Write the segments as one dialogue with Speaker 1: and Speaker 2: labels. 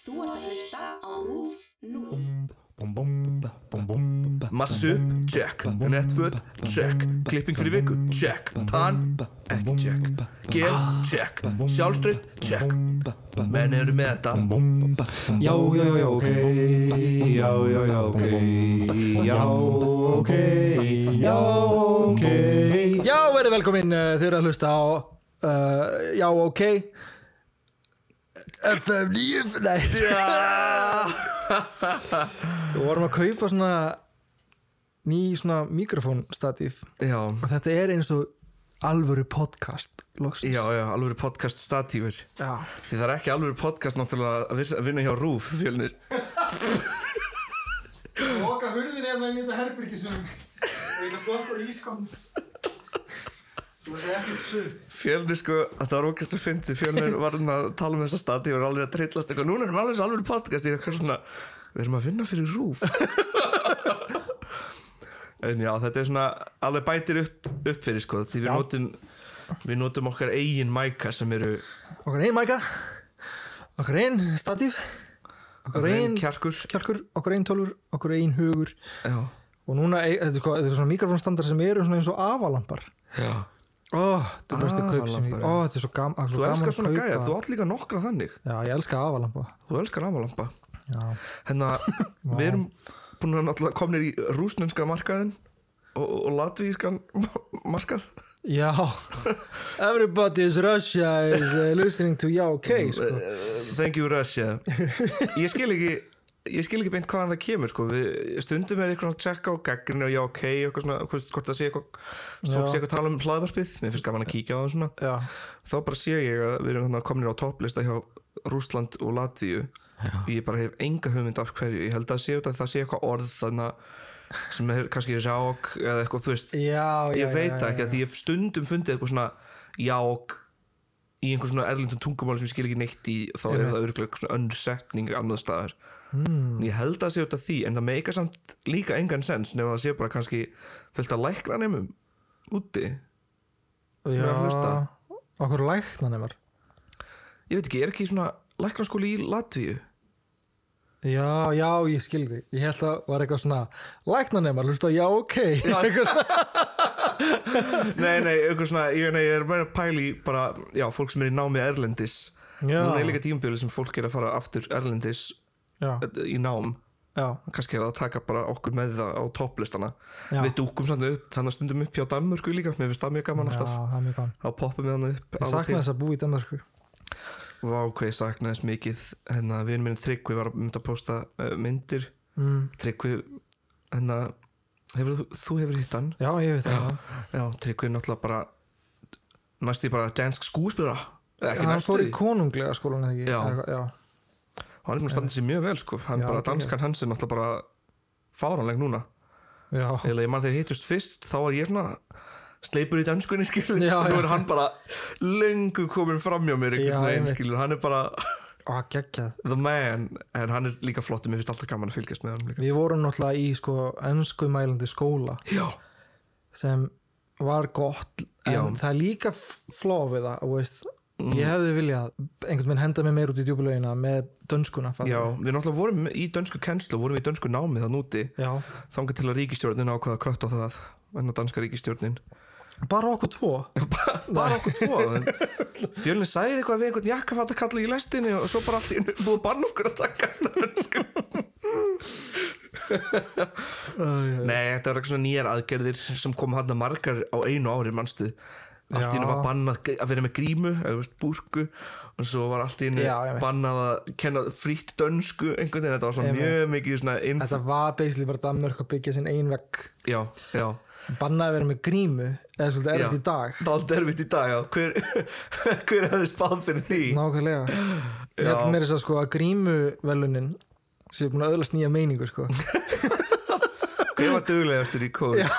Speaker 1: Þú ert að hlusta á RÚF 0.
Speaker 2: Mars upp, check Netföt, check Klipping fyrir viku, check Tann, ekki check Gel, check Sjálfströð, check Menn eru með þetta
Speaker 3: Já, já, já, ok Já, já, já, ok Já, ok Já, ok
Speaker 4: Já, verið velkomin, uh, þið eru að hlusta á uh, Já, ok FM 9 Nei, við vorum að kaupa svona ný svona mikrofónstatíf
Speaker 2: Já,
Speaker 4: og þetta er eins og alvöru podcast loksins
Speaker 2: já, já, alveg podcast statífur
Speaker 4: Já.
Speaker 2: Því það er ekki alveg podcast náttúrulega að vir- að vinna hjá Rúf fjölnir
Speaker 5: Loka hurðin eða inn í þetta herbyrgi sem og ég slökk úr ískamni Þú veist ekkert suð
Speaker 2: Fjölnir sko, þetta var okkast að fyndi Fjölnir var hann að tala um þessa statífur alveg að trillast eitthvað, núna erum við alveg svo alveg podcast Ég er eitthvað svona, við erum að vinna fyrir Rúf En já, þetta er svona alveg bætir upp, upp fyrir sko Því við notum, við notum okkar eigin mæka sem eru
Speaker 4: Okkar einn mæka Okkar einn statíf Okkar einn
Speaker 2: kjarkur
Speaker 4: kjálkur Okkar einn tölur, okkar einn hugur
Speaker 2: Já,
Speaker 4: og núna, e- þetta er, sko, þetta er svona mikrofónstandar sem eru svona eins og afalampar
Speaker 2: já
Speaker 4: Ó, þetta er bestu kaup sem ég
Speaker 2: Afalampar, já.
Speaker 4: Ó, þetta er svo, gam, svo
Speaker 2: Þú
Speaker 4: gaman
Speaker 2: elskar svona
Speaker 4: að kaupa.
Speaker 2: gæja, þú átt líka nokkra þannig
Speaker 4: Já, ég elska afalampa
Speaker 2: Þú elskar ramalampa
Speaker 4: Já,
Speaker 2: Hérna, við erum búin að náttúrulega komnir í rúsnenska markaðin og, og latvískan markað
Speaker 4: Já. Everybody's Russia is uh, listening to Já, ok sko.
Speaker 2: Eh, Thank you Russia Ég skil ekki Ég skil ekki beint hvaðan það kemur sko. við stundum er eitthvað að checka á gaggrinni og já ok, eitthvað svona, hvort, hvort það sé eitthvað fólk sé eitthvað að tala um hlaðvarpið mér finnst gaman að kíkja á það svona
Speaker 4: Já,
Speaker 2: þá bara sé ég að við erum þannig komnir á topplista hjá Rúsland og Latvíu og ég bara hef enga hugmynd af hverju ég held að sé út að það sé eitthvað orð þannig að sem er kannski rák eða eitthvað þú veist
Speaker 4: já, já
Speaker 2: ég veit
Speaker 4: já,
Speaker 2: það
Speaker 4: já,
Speaker 2: ekki að því ég hef stundum fundið eitthvað svona ják í einhver svona erlindum tungumáli sem ég skil ekki neitt í þá er það örgulega svona önnur setning annað staðar
Speaker 4: Hmm.
Speaker 2: mm. ég held að það sé út af því en það meika samt líka engan sens nema það sé bara kannski fullt að lækra nefnum úti ég
Speaker 4: já,
Speaker 2: að hlusta.
Speaker 4: já, okkur læknan emar
Speaker 2: veit ekki, er ekki svona læknaskóli í Latvíu
Speaker 4: Já, já, ég skildi Ég held að var eitthvað svona Læknan emar, hlusta á Já, ok Eitthvað svona-
Speaker 2: Nei, nei, eitthvað svona, ég, nei, ég er meira að pæla í bara, já, fólk sem er í námi erlendis
Speaker 4: Já.
Speaker 2: Núna er líka tímabjölu sem fólk er að fara aftur erlendis
Speaker 4: Já,
Speaker 2: eh, í nám
Speaker 4: já,
Speaker 2: Kannski er það að taka bara okkur með það á topplistana
Speaker 4: Já.
Speaker 2: Við dúkum samt upp, þannig að stundum upp hjá Danmörku líka Mér finnst það mjög gaman
Speaker 4: já,
Speaker 2: alltaf
Speaker 4: það er mjög gaman
Speaker 2: Þá poppum við hann upp
Speaker 4: Ég sakna þess að búa í Danmarku
Speaker 2: Vá, hvað ég saknaði þess mikið Hennar, við erum minn Tryggvi var að mynda að posta uh, myndir mm. Tryggvi, hennar, hefur, þú- þú hefur hitt hann
Speaker 4: Já, ég veit það já.
Speaker 2: Já, Tryggvi er náttúrulega bara næstu í bara dansk skúspila ekki
Speaker 4: Hann
Speaker 2: næstu
Speaker 4: fór
Speaker 2: því,
Speaker 4: í konunglega skólan eða ekki
Speaker 2: Já.
Speaker 4: Eitthvað- já.
Speaker 2: hann er búin að standa sér mjög vel sko, hann
Speaker 4: Já,
Speaker 2: bara
Speaker 4: ok.
Speaker 2: danskan hans er náttúrulega bara fáranleg núna
Speaker 4: Já,
Speaker 2: eða ég mann þegar hittust fyrst þá var ég svona sleipur í danskunni skilur
Speaker 4: Já,
Speaker 2: nú
Speaker 4: já.
Speaker 2: er hann bara lengu komin fram hjá mér
Speaker 4: Já,
Speaker 2: einhvern veginn
Speaker 4: einmitt.
Speaker 2: skilur, hann er bara
Speaker 4: á, geggjað
Speaker 2: the man, en hann er líka flott og mér finnst alltaf gaman að fylgjast með hann líka
Speaker 4: Við vorum náttúrulega í sko ennsku mælandi skóla
Speaker 2: já,
Speaker 4: sem var gott en
Speaker 2: Já. Mm.
Speaker 4: það er líka fló við það þú veist, ég hefði viljað einhvern veginn henda mig meir út í djúbulegina með dönskuna fattar
Speaker 2: já,
Speaker 4: við.
Speaker 2: við náttúrulega vorum í dönsku kennslu, vorum í dönsku námi þann úti
Speaker 4: já,
Speaker 2: þangað til að ríkistjórnin ákvaða að kötta það en að danska ríkistjórnin
Speaker 4: bara okkur tvo
Speaker 2: bara okkur tvo fjölni sagði eitthvað við einhvern jakkafata í lestinni og svo bara allt í einu búið að banna okkur að taka þetta, sko. nei þetta var eitthvað svona nýjar aðgerðir sem kom hann að margar á einu ári mannstu allt í einu
Speaker 4: Já.
Speaker 2: var bannað g- að vera með grímu eða þú veist, búrku og svo var allt í einu
Speaker 4: Já, ég veit.
Speaker 2: bannað að kenna frítt dönsku einhvern veginn þetta var svona
Speaker 4: Ég veit.
Speaker 2: mjög mikið svona inn...
Speaker 4: þetta var basically bara Danmörk að byggja sinn ein vegg
Speaker 2: já, já
Speaker 4: bannaði að vera með grímu eða svolítið
Speaker 2: Já.
Speaker 4: erfitt í dag
Speaker 2: Dálítið erfitt í dag, já Hver, hver hefði spáð fyrir því?
Speaker 4: nákvæmlega ég held mér þess að sko að grímuvelunin sem er búin að öðlast nýja meiningu sko
Speaker 2: Hver var duglegastur í COVID?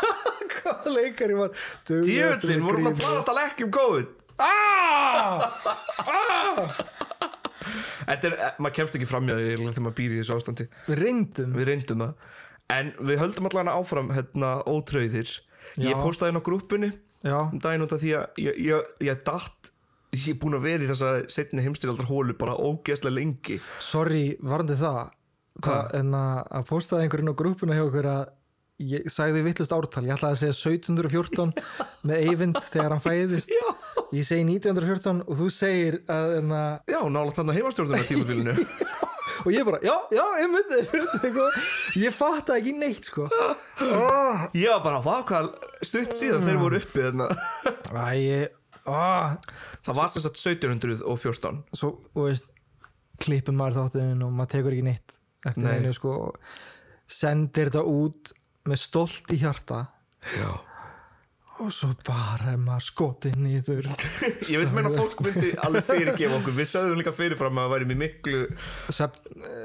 Speaker 4: hvað leikari var
Speaker 2: Djöfullin, vorum við að plana að tala ekki um COVID
Speaker 4: Ah!
Speaker 2: Þetta er, eh, maður kemst ekki framjá því eiginlega þegar maður býr í þessu ástandi
Speaker 4: við reyndum
Speaker 2: Við reyndum það En við höldum allan áfram hérna ótröðir Ég
Speaker 4: Já.
Speaker 2: postaði inn á grúppunni
Speaker 4: já,
Speaker 2: um daginn út af því að ég, ég, ég datt ég er búin að vera í þessa setni heimstyrjaldar hólu bara ógeðslega lengi
Speaker 4: Sorry, varandi það Hvað? En að, að postaði einhverjum á grúpuna hjá okkur að ég sagði vittlust ártal ég ætlaði að segja 1714 með Eyvind þegar hann fæðist
Speaker 2: Já.
Speaker 4: ég segi 1914 og þú segir að, en að
Speaker 2: Já, nála þannig heimastjórnum tímabilinu
Speaker 4: og ég bara, já, já, ég myndi eitthvað. ég fatta ekki neitt sko
Speaker 2: Ég var bara, vá, hvað stutt síðan þeir voru uppi þarna
Speaker 4: Æ, ég, á,
Speaker 2: Það var sem sagt 1714
Speaker 4: svo, þú veist klippum maður þáttuðin og maður tekur ekki neitt eftir
Speaker 2: Nei.
Speaker 4: neinu sko og sendir þetta út með stolt í hjarta
Speaker 2: Já
Speaker 4: og svo bara er maður skotið niður
Speaker 2: Ég veit meina að fólk myndi alveg fyrirgefa okkur Við sögðum líka fyrirfram að það væri mér miklu
Speaker 4: Svefn,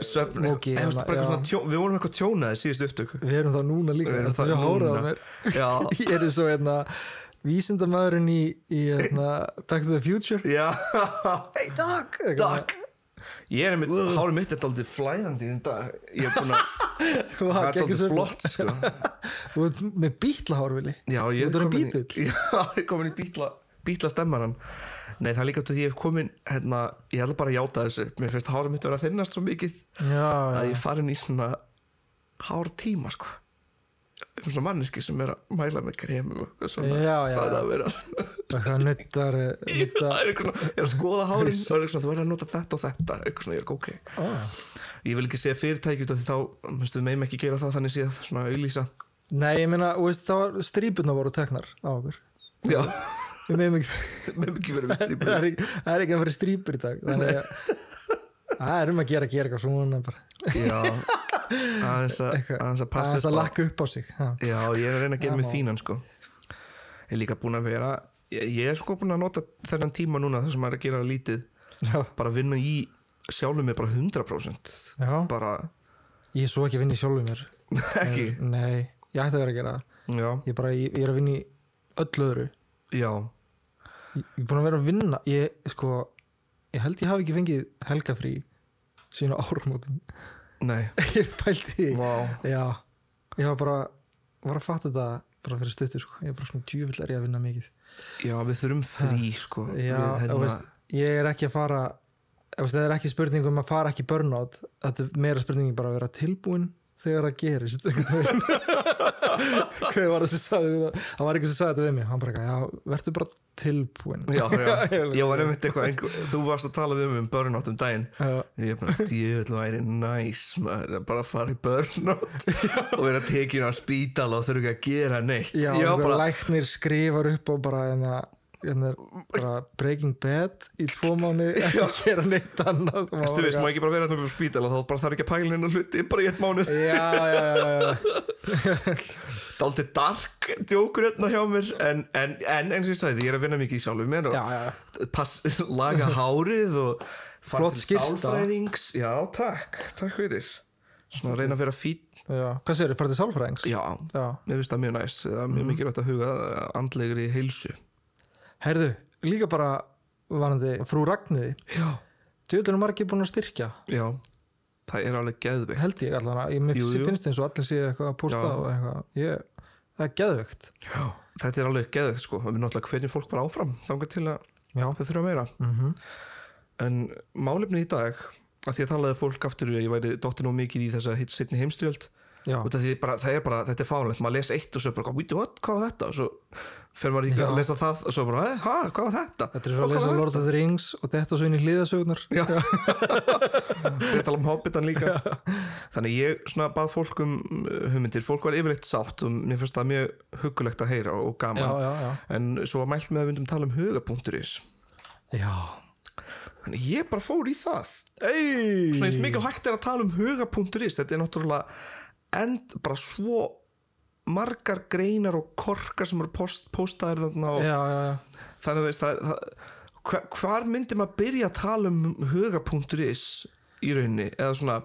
Speaker 2: söfni
Speaker 4: Ógeð,
Speaker 2: okay,
Speaker 4: já.
Speaker 2: tjón, Við vorum eitthvað tjónaðir síðustu upptöku
Speaker 4: við erum það núna líka
Speaker 2: Við erum
Speaker 4: þetta
Speaker 2: það
Speaker 4: er svo hárað á
Speaker 2: núna.
Speaker 4: mér.
Speaker 2: Já.
Speaker 4: ég er svo hérna vísindamæðurinn í, í hérna, Back to the Future
Speaker 2: Já
Speaker 4: hey Doc
Speaker 2: Takk Ég er einmitt, hárið mitt er daldið flæðandi í þinn dag Ég er búin að,
Speaker 4: Vá,
Speaker 2: það er
Speaker 4: geggjum
Speaker 2: daldið
Speaker 4: svefn.
Speaker 2: flott sko
Speaker 4: þú ert með bítlahár vilji
Speaker 2: Já,
Speaker 4: Þú
Speaker 2: ég
Speaker 4: ert orðinn
Speaker 2: kominn í-
Speaker 4: bítill?
Speaker 2: Já, ég er komin í bítla, bítla stemmaran Nei, það er líka út af því ég hef komin hérna, Ég ætla bara að játa þessu Mér finnst hárið mitt vera að þinnast svo mikið
Speaker 4: já,
Speaker 2: að
Speaker 4: já.
Speaker 2: ég farin í svona hár tíma sko um svona manneski sem er að mæla með kremum og eitthvað svona
Speaker 4: Já, já,
Speaker 2: Það er
Speaker 4: já.
Speaker 2: að vera
Speaker 4: eitthvað nuttar nutta,
Speaker 2: Það er eitthvað svona, ég er að skoða hárin og er eitthvað svona, þú verður að nota þetta og þetta eitthvað svona, ég er ekki ok Ég vil ekki segja fyrirtæki út af því þá minnstu, við meim ekki gera það þannig séð, svona auglýsa
Speaker 4: nei ég meina þú veist, það var strípurna voru teknar á okkur
Speaker 2: Já,
Speaker 4: við meðum ekki
Speaker 2: meim ekki verið við
Speaker 4: það
Speaker 2: strípur
Speaker 4: er ekki- það er ekki að fyrir strípur í dag þannig að það er um að gera, gera eitthvað svona bara
Speaker 2: Já, aðeins að aðeins að passa
Speaker 4: aðeins að
Speaker 2: upp á-
Speaker 4: lakka upp á sig já.
Speaker 2: Já, ég er að reyna að gera mig fínan sko Ég er líka búin að vera ég, ég er sko búin að nota þennan tíma núna þar sem maður er að gera lítið
Speaker 4: Já.
Speaker 2: bara vinna í sjálfum mig bara 100%
Speaker 4: Já.
Speaker 2: bara
Speaker 4: ég er svo ekki að vinna í sjálfum mér Eh,
Speaker 2: ekki
Speaker 4: Nei, ég ætti að vera að gera það
Speaker 2: já,
Speaker 4: Ég, bara, ég, ég er að vinna í öllu öðru Ég,
Speaker 2: já,
Speaker 4: ég er búin að vera að vinna Ég, sko, ég held ég hafi ekki fengið helgafrí sína árumótin
Speaker 2: nei
Speaker 4: Ég pælti því
Speaker 2: Vá.
Speaker 4: Já, ég var bara var að fatta þetta bara fyrir stöttur sko. Ég er bara svona djúvill er ég að vinna mikið
Speaker 2: já, við þurfum frí sko
Speaker 4: Eh, Já,
Speaker 2: við,
Speaker 4: þú veist, ég er ekki að fara þú veist, Það er ekki spurning um að fara ekki í burnout Þetta er meira spurning bara að vera tilbúin þegar það gerist einhvern veginn. hver var það sem sagði það það var einhver sem sagði þetta við mig hann bara, eitthvað, já, verður bara tilbúin
Speaker 2: já, já,
Speaker 4: ég vil-
Speaker 2: ég var einmitt eitthvað einhver, þú varst að tala við mig um burnout um daginn
Speaker 4: Já.
Speaker 2: ég er bara, djöfull væri næs maður, bara að fara í burnout og vera tekin á spítal og þurfa ekki að gera neitt
Speaker 4: já,
Speaker 2: ég var
Speaker 4: einhver
Speaker 2: bara,
Speaker 4: læknir skrifar upp og bara, en það bara breaking bad í tvo mánu ekki að gera neitt annað Og maður
Speaker 2: þú
Speaker 4: bara
Speaker 2: veist, maður ekki bara vera þarna upp á spítal og þá bara þarf ekki að pæla hennar hluti bara í eitt mánuð
Speaker 4: já, já, já, já,
Speaker 2: daldið dark djókur hérna hjá mér en, en, en eins og ég sagði, ég er að vinna mikið í sjálfum mér og
Speaker 4: já, já, já.
Speaker 2: pass, laga hárið og fara
Speaker 4: Flott
Speaker 2: til
Speaker 4: skyrta.
Speaker 2: sálfræðings já, takk, takk fyrir svona að reyna að vera fít
Speaker 4: já. hvað segir þið, farið til sálfræðings?
Speaker 2: já,
Speaker 4: já.
Speaker 2: mér finnst það mjög næst það er mjög mikilvægt að huga að andlegri heilsu
Speaker 4: herðu, líka bara varandi frú Ragniði
Speaker 2: já,
Speaker 4: djöðlunum margir búin að styrkja
Speaker 2: já það er alveg geðveikt
Speaker 4: held ég allan að, ég mér
Speaker 2: Jú, jú.
Speaker 4: finnst eins og allir séu eitthvað að posta
Speaker 2: Já.
Speaker 4: og eitthvað ég, það er geðvögt
Speaker 2: já. þetta er alveg geðveikt sko við náttúrulega hvernig fólk bara áfram þangar til að
Speaker 4: já,
Speaker 2: þau þurfa meira
Speaker 4: Mhm.
Speaker 2: en málefni í dag að því að talaði fólk aftur að ég væri dottin og mikið í þessa hitt setni heimstyrjöld
Speaker 4: já.
Speaker 2: út af því bara, það er bara, þetta er fálegt maður les eitt og svo bara, "Wait, what, hvað var þetta og svo fer maður líka að lesa það og svo bara, "Eh, ha, hvað var þetta
Speaker 4: Þetta er svo að
Speaker 2: Og hvað
Speaker 4: lesa
Speaker 2: var
Speaker 4: Lord of the Rings og þetta svo inn í hliðasögnar
Speaker 2: Já. þetta tala um hobbitan líka þannig ég svona bað fólk um uh, hugmyndir, fólk var yfirleitt sátt og mér finnst það mjög huggulegt að heyra og gaman
Speaker 4: Já, já, já.
Speaker 2: en svo var mælt með að við myndum tala um hugapunkturis
Speaker 4: Já.
Speaker 2: þannig ég bara fór í það
Speaker 4: Ey.
Speaker 2: svona eins mikið og hægt er að tala um huga.is þetta er náttúrulega end bara svo margar greinar og korkar sem eru post, postaðir þarna og
Speaker 4: Já, já, já.
Speaker 2: þannig að veist það, það hva, hvar myndi maður byrja að tala um huga.is í rauninni eða svona,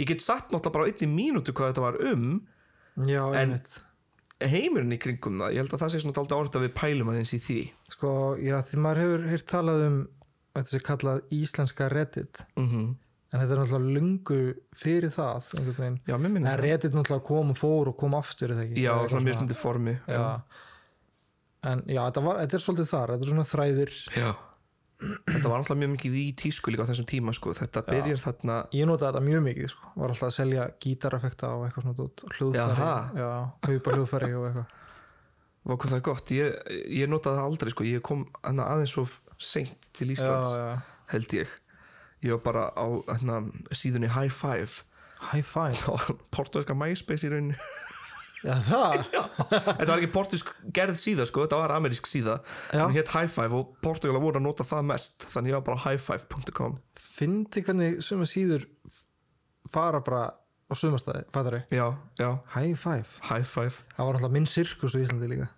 Speaker 2: ég get sagt náttúrulega bara á einni mínútu hvað þetta var um
Speaker 4: Já,
Speaker 2: en
Speaker 4: einmitt.
Speaker 2: heimurinn í kringum það ég held að það sé svona dálítið áhrif að við pælum aðeins í því
Speaker 4: Sko, já, því maður hefur heyrt talað um þetta sem er kallað íslenska Reddit
Speaker 2: mm -hmm.
Speaker 4: en þetta er náttúrulega lungu fyrir það einhvern veginn.
Speaker 2: já, mér
Speaker 4: En
Speaker 2: minni það.
Speaker 4: Reddit náttúrulega kom og fór og kom aftur, er það ekki?
Speaker 2: já,
Speaker 4: Eða eitthvað
Speaker 2: svona mjög stundi formi
Speaker 4: Já. En já, þetta, var, þetta er svolítið þar, þetta er svona þræðir
Speaker 2: já, þetta var alltaf mjög mikið í tísku líka á þessum tíma sko. þetta byrjar þarna
Speaker 4: Ég notaði þetta mjög mikið sko, var alltaf að selja gítareffekta og eitthvað svona dót, hljóðfæri,
Speaker 2: Jaha.
Speaker 4: já, kaupa hljóðfæri og eitthvað.
Speaker 2: var hvað það er gott, ég, ég notaði það aldrei sko. ég kom hana, aðeins svo seint til Íslands
Speaker 4: Já, já.
Speaker 2: held ég ég var bara á hana, síðunni High Five
Speaker 4: High five.
Speaker 2: það var portugalska MySpace í rauninu
Speaker 4: Já, það?
Speaker 2: þetta var ekki portugalsk gerð síða sko, þetta var amerísk síða
Speaker 4: Já.
Speaker 2: hún hétt High Five og portugala voru að nota það mest þannig ég var bara highfive.com
Speaker 4: Fyndi hvernig suma síður fara bara á sumastæði, fattar ég?
Speaker 2: já, já,
Speaker 4: High five.
Speaker 2: High Five
Speaker 4: Það var alltaf minn sirkus á Íslandi líka.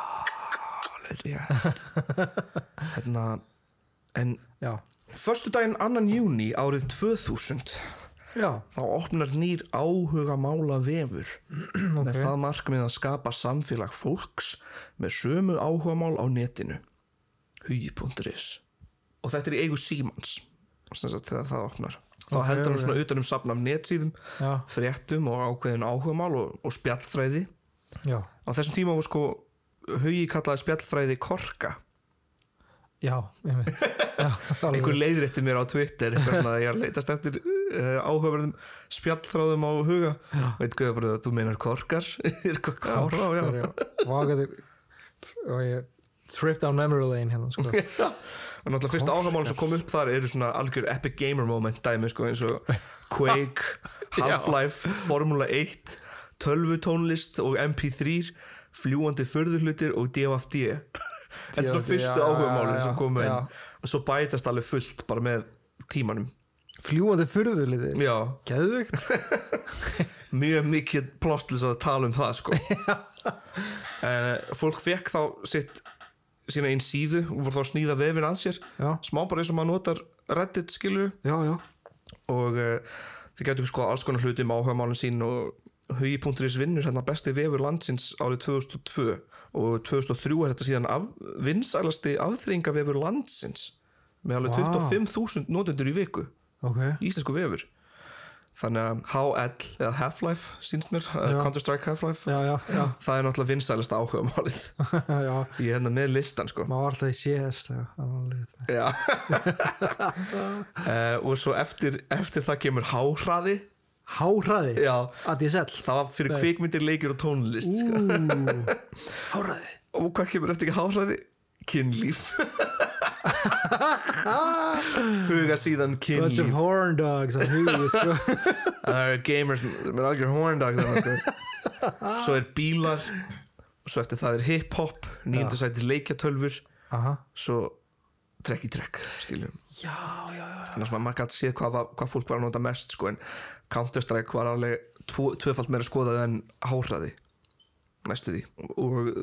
Speaker 2: alveg rétt hérna en
Speaker 4: Já.
Speaker 2: förstu daginn annan júni árið 2000
Speaker 4: Já,
Speaker 2: þá opnar nýr áhuga mála vefur með það markmið að skapa samfélag fólks með sömu áhuga mál á netinu hugi.is og þetta er í eigu símans þegar það opnar þá
Speaker 4: Ok,
Speaker 2: heldur hann
Speaker 4: ok.
Speaker 2: svona utan um safn af netsíðum
Speaker 4: já,
Speaker 2: fréttum og ákveðin áhuga mál og, og spjallfræði
Speaker 4: já,
Speaker 2: á þessum tíma var sko hugi kallaði spjallfræði korka
Speaker 4: já, ég veit. Já, alveg.
Speaker 2: einhver leiðrétti mér á Twitter eitthvað svona að ég er að leitast eftir uh, áhugaverðum spjallþráðum á huga veit hvað bara að þú meinar korkar er hvað korkar, já, já.
Speaker 4: Vágaði, og ég trip down memory lane hérna, sko.
Speaker 2: og náttúrulega fyrsta áhugamál sem kom upp þar eru svona algjör epic gamer moment dæmi sko eins og Quake, Half-Life, Formula 1 tölvutónlist og MP3 fljúandi förðurhlutir og DFD þetta er svona
Speaker 4: DFD,
Speaker 2: fyrstu
Speaker 4: já,
Speaker 2: áhugamálin
Speaker 4: já,
Speaker 2: sem
Speaker 4: já,
Speaker 2: komu
Speaker 4: já.
Speaker 2: inn og svo bætast alveg fullt bara með tímanum
Speaker 4: Fljúandi furðuliðir.
Speaker 2: já
Speaker 4: Geðvögt.
Speaker 2: mjög mikið plástlýs að tala um það sko. uh, fólk fekk þá sitt sína einn síðu og voru þá að snýða vefin að sér
Speaker 4: Já.
Speaker 2: smá bara eins og maður notar reddit skilur
Speaker 4: Já, já.
Speaker 2: og uh, þið getur sko alls konar hluti um áhugamálin sín og hugi.is vinnur hérna besti vefur landsins árið 2002 og 2003 er þetta síðan af, vinsælasti afþringa vefur landsins með alveg
Speaker 4: Vá.
Speaker 2: 25.000 notendur í viku
Speaker 4: Ok.
Speaker 2: íslensku vefur þannig að HL eða Half-Life sínst mér, uh,
Speaker 4: Já.
Speaker 2: Counter-Strike Half-Life
Speaker 4: Já, já, já,
Speaker 2: það er náttúrulega vinsælasta áhuga málið
Speaker 4: já.
Speaker 2: ég er hérna með listan sko
Speaker 4: Maður var alltaf í sko. CS, já. það var alveg-
Speaker 2: Já uh, og svo eftir, eftir það kemur háhraði
Speaker 4: Háhraði?
Speaker 2: já,
Speaker 4: ADSL?
Speaker 2: það var fyrir kvikmyndir, leikir og tónlist sko.
Speaker 4: Háhraði?
Speaker 2: og hvað kemur eftir háhraði? kynlíf huga síðan
Speaker 4: Bunch of
Speaker 2: kynlíf
Speaker 4: horn dogs að hugi, sko.
Speaker 2: það eru gamers með algjör horndag þarna, sko. svo er bílar svo eftir það er hip-hop nýjöndu sæti leikjatölfur
Speaker 4: Aha.
Speaker 2: svo trekk í trekk skiljum
Speaker 4: Já, já, já.
Speaker 2: þannig að maður gæti séð hvað, var- hvað fólk var að nota mest sko, en Counter-Strike var alveg tvo, tvöfalt meira skoðað en háræði næstu því og uh,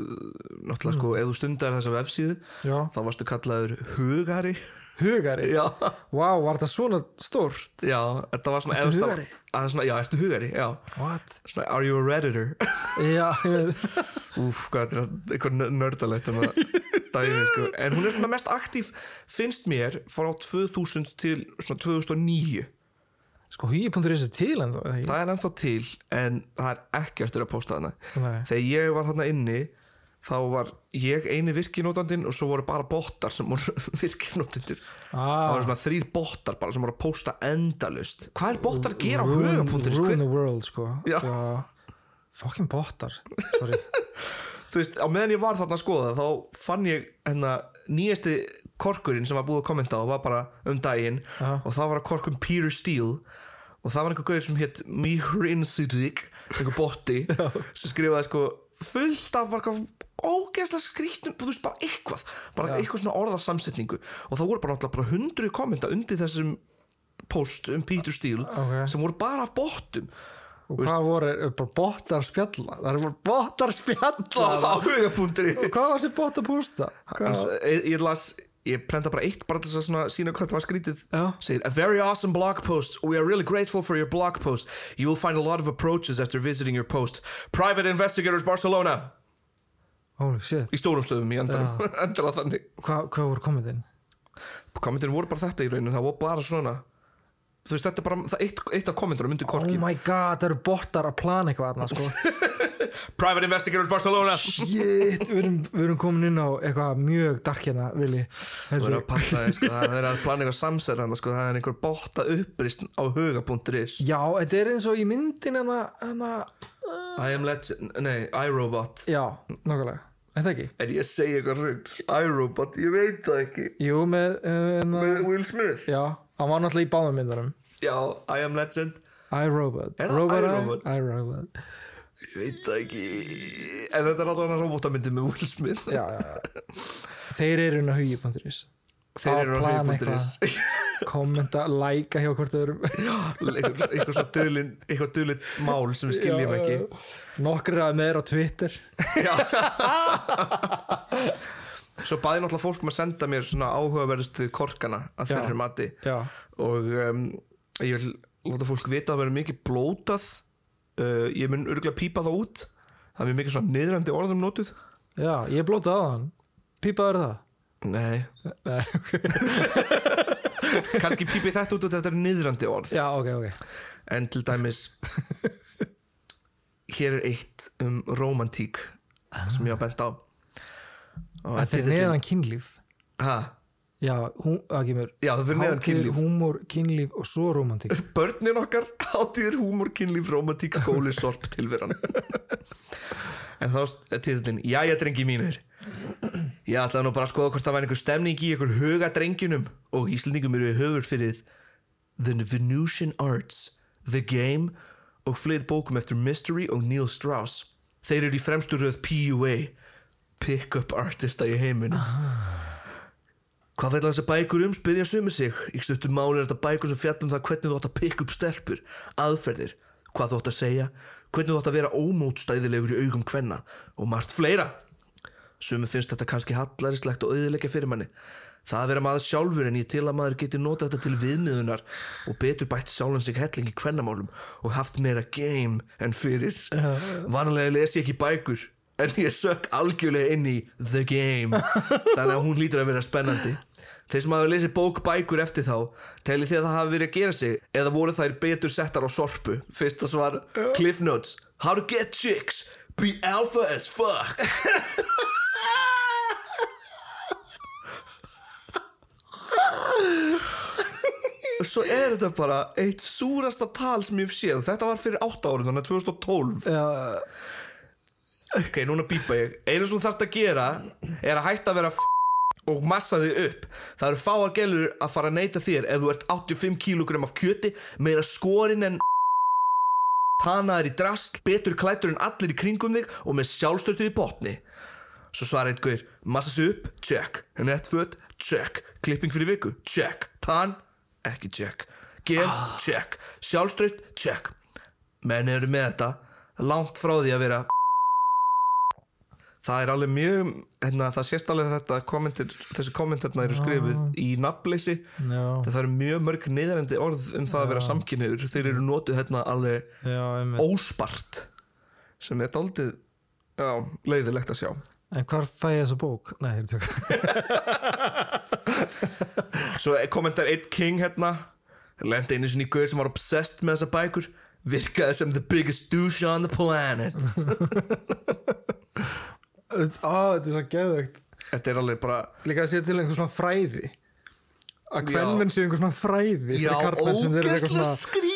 Speaker 2: náttúrulega
Speaker 4: Hmm.
Speaker 2: sko ef þú stundar þessa vefsíðu
Speaker 4: Já.
Speaker 2: þá varstu kallaður hugari
Speaker 4: Hugari?
Speaker 2: já,
Speaker 4: Vá, var það svona stórt?
Speaker 2: já þetta var svona
Speaker 4: Ertu
Speaker 2: ef þú stað-
Speaker 4: hugari?
Speaker 2: að svona, já, ertu hugari, já
Speaker 4: What?
Speaker 2: svona, are you a redditor
Speaker 4: Já, ég veit.
Speaker 2: Úf, hvað þetta er eitthvað nördalegt um dæmi, sko. En hún er svona mest aktíf, finnst mér, frá 2000 til svona 2009.
Speaker 4: Sko, hugi.is er til en það, ekki?
Speaker 2: Það er ennþá til, en það er ekki eftir að posta þarna.
Speaker 4: Nei.
Speaker 2: Þegar ég var þarna inni, þá var ég eini virkinótandinn og svo voru bara bottar sem voru virkinótendur. Það
Speaker 4: Ah,
Speaker 2: voru svona þrýr bottar bara sem voru að posta endalust. Hvað er bottar að gera á huga.is?
Speaker 4: Ruin
Speaker 2: Hver-
Speaker 4: the world, sko.
Speaker 2: Já.
Speaker 4: Fucking bottar. Sorry.
Speaker 2: þú veist, á meðan ég var þarna að skoða þá fann ég hérna nýjasti korkurinn sem var búið að kommenta og var bara um daginn
Speaker 4: Já.
Speaker 2: og það var að korkum Peter Steele og það var einhver gauður sem hétt Mihrin Siddiq, einhver botti sem skrifaði sko fullt af bara eitthvað ógeðslega skrýttum þú veist, bara eitthvað, bara eitthvað svona orðarsamsetningu og það voru bara náttúrulega bara hundru kommenta undir þessum post um Peter Steele
Speaker 4: Ok.
Speaker 2: sem voru bara af bottum
Speaker 4: Og hvað voru, er bara bottar spjalla? Það eru bara bottar spjalla.
Speaker 2: á hugapunktur
Speaker 4: Og hvað var þessi bott að posta?
Speaker 2: Hans,
Speaker 4: Hvað?
Speaker 2: ég, eh, ég las ég prenta bara eitt bara til þess að svona sína hvað það var skrítið
Speaker 4: Já.
Speaker 2: segir a very awesome blog post we are really grateful for your blog post you will find a lot of approaches after visiting your post private investigators Barcelona
Speaker 4: Holy shit.
Speaker 2: í stórum stöðum í endanum endala þannig
Speaker 4: Hvað hvað voru komið inn?
Speaker 2: kommentin voru bara þetta í rauninu það voru bara svona þú veist þetta er bara það, eitt, eitt af kommentunum myndi
Speaker 4: Oh
Speaker 2: korkið
Speaker 4: my god, það eru bottar að plana eitthvað þarna, sko.
Speaker 2: Private Investigators Barcelona
Speaker 4: Shit, við erum, við erum komin inn á eitthvað mjög dark hérna, Vili
Speaker 2: Það er að passa þig, sko, það er að plana eitthvað samsæð hann, sko, það er einhver bóta upprist á huga.is
Speaker 4: Já, þetta er eins og í hérna, myndin hana, hana,
Speaker 2: I am legend, nei, iRobot
Speaker 4: Já, nákvæmlega, er það ekki?
Speaker 2: En ég segi eitthvað rögg, iRobot, ég veit það ekki
Speaker 4: Jú, með, uh,
Speaker 2: Með
Speaker 4: hana,
Speaker 2: Will Smith
Speaker 4: Já, hann var náttúrulega í báðum myndunum
Speaker 2: Já, I am legend,
Speaker 4: iRobot
Speaker 2: Er það
Speaker 4: Robot
Speaker 2: iRobot?
Speaker 4: I- iRobot
Speaker 2: ég veit það ekki En þetta er alltaf hann robotamyndi með Will Smith
Speaker 4: Já, já, já Þeir eru inn á hugi.is
Speaker 2: Þeir eru á
Speaker 4: plan
Speaker 2: hugi.is.
Speaker 4: eitthvað, Kommenta, læka hjá hvort öðrum
Speaker 2: Eitthvað eitthvað svona dulin, eitthvað dulin mál sem við skiljum
Speaker 4: Já,
Speaker 2: ekki
Speaker 4: já, já. Nokkrir að með er á Twitter
Speaker 2: Já Svo baði náttúrulega fólk með að senda mér svona áhugaverðustu korkana að
Speaker 4: Já.
Speaker 2: þeirri mati
Speaker 4: Já,
Speaker 2: og um, ég vil láta fólk vita að það verður mikið blótað uh, ég mun örgulega pípa það út það er mikið svona niðrandi orðum notuð
Speaker 4: já, ég blótaði á hann Pípaður það?
Speaker 2: Nei
Speaker 4: Nei,
Speaker 2: Kanski pípi þetta út og þetta er niðrandi orð
Speaker 4: Já, ok, ok
Speaker 2: en til dæmis hér er eitt um romantík sem ég var bent á og
Speaker 4: Þetta er Ah. neðan kynlíf
Speaker 2: ha,
Speaker 4: Já, hún, það kemur
Speaker 2: Já, það fyrir neðan
Speaker 4: Hátíð,
Speaker 2: kynlíf
Speaker 4: húmor, kynlíf og svo romantík
Speaker 2: Börnin okkar, hátíður, húmor, kynlíf, romantík, skóli, sorp, tilveran En þá er titillin Jæja, drengi mínir Ég ætlaði nú bara að skoða hvort það væri einhver stemning í einhver huga drengjunum og Íslendingum eru höfur fyrir The Venusian Arts, The Game og fleiri bókum eftir Mystery og Neil Strauss Þeir eru í fremstu röð PUA Pick-up artista í heiminum Hvað ætla þessi bækur um spyrja sumir sig? Í stuttum máli er þetta bækur sem fjallum það hvernig þú átt að pikka upp stelpur, aðferðir, hvað þú átt að segja, hvernig þú átt að vera ómótstæðilegur í augum hvenna og margt fleira. Sumir finnst þetta kannski hallærislegt og auðilegja fyrir manni. Það að vera maður sjálfur en ég til að maður geti notað þetta til viðmiðunar og betur bætt sjálfan sig helling í kvennamálum og haft meira game en fyrir. Vanalega les ég ekki bækur en ég sök algjörlega inn í the game þannig að hún lítur að vera spennandi. Þeir sem hafa lesið bók bækur eftir þá, telið því að það hafi verið að gera sig eða voru þær betur settar á sorpu. Fyrsta svar, Cliff Notes, How to get chicks, be alpha as fuck. Svo er þetta bara eitt súrasta tal sem ég hef séð Þetta var fyrir 8 árum, þannig að 2012
Speaker 4: Já,
Speaker 2: Ok, núna býpa ég Einu sem þú þarft að gera er að hætta að vera f og massa þig upp Það eru fáar gelur að fara að neyta þér ef þú ert 85 kg af kjöti meira skorinn en tanaðar í drast, betur klætur en allir í kringum þig og með sjálfstörtu í botni Svo svarar einn guður Massa sig upp, check Netföt, check Klipping fyrir viku, check Tan, ekki check Gen, check Sjálfstraut, check Menn eru með þetta Langt frá því að vera Það er alveg mjög hérna, Það sést alveg þetta kommentir, Þessi kommentarna eru skrifuð í nafnleysi
Speaker 4: já,
Speaker 2: Það eru mjög mörg neyðarendi orð um það að vera samkynniður Þeir eru notuð hérna alveg
Speaker 4: já, einmitt
Speaker 2: óspart Sem er daldið Já, leiðilegt að sjá
Speaker 4: En hvar fæ ég þessa bók? Nei, ég er tjók
Speaker 2: Svo kommentar Ed King hérna Lendi einu sinni í guður sem var obsessed með þessa bækur Virkaði sem the biggest douche on the planet
Speaker 4: Á, þetta er svo geðvögt
Speaker 2: Þetta er alveg bara
Speaker 4: Líka að sé til einhver svona fræði Að
Speaker 2: Já.
Speaker 4: kvenmenn séu einhver svona fræði
Speaker 2: Já,
Speaker 4: fyrir karlmenn sem þeir eru eitthvað
Speaker 2: ógeðslega
Speaker 4: svona-
Speaker 2: skrítið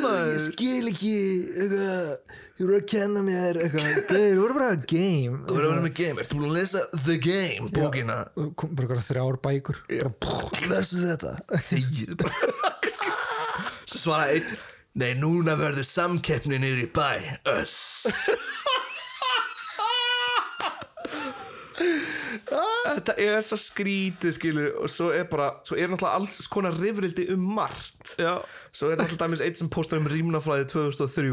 Speaker 2: maður
Speaker 4: skil ekki eitthvað, þú voru að kenna mér eitthvað, þau voru bara að game
Speaker 2: Þú verður að vera með game, ertu búin að lesa The Game bókina?
Speaker 4: og kom bara eitthvað þrjár bækur bara, brrr, lestu þetta
Speaker 2: Þegið bara Svo svaraði einn Nei, núna verður samkeppni niður í bæ Öss Þetta er svo skrítið skilur og svo er bara, svo er náttúrulega alls konar rifrildi um margt Já. svo er náttúrulega dæmis eitt sem postar um rýmnaflæði 2003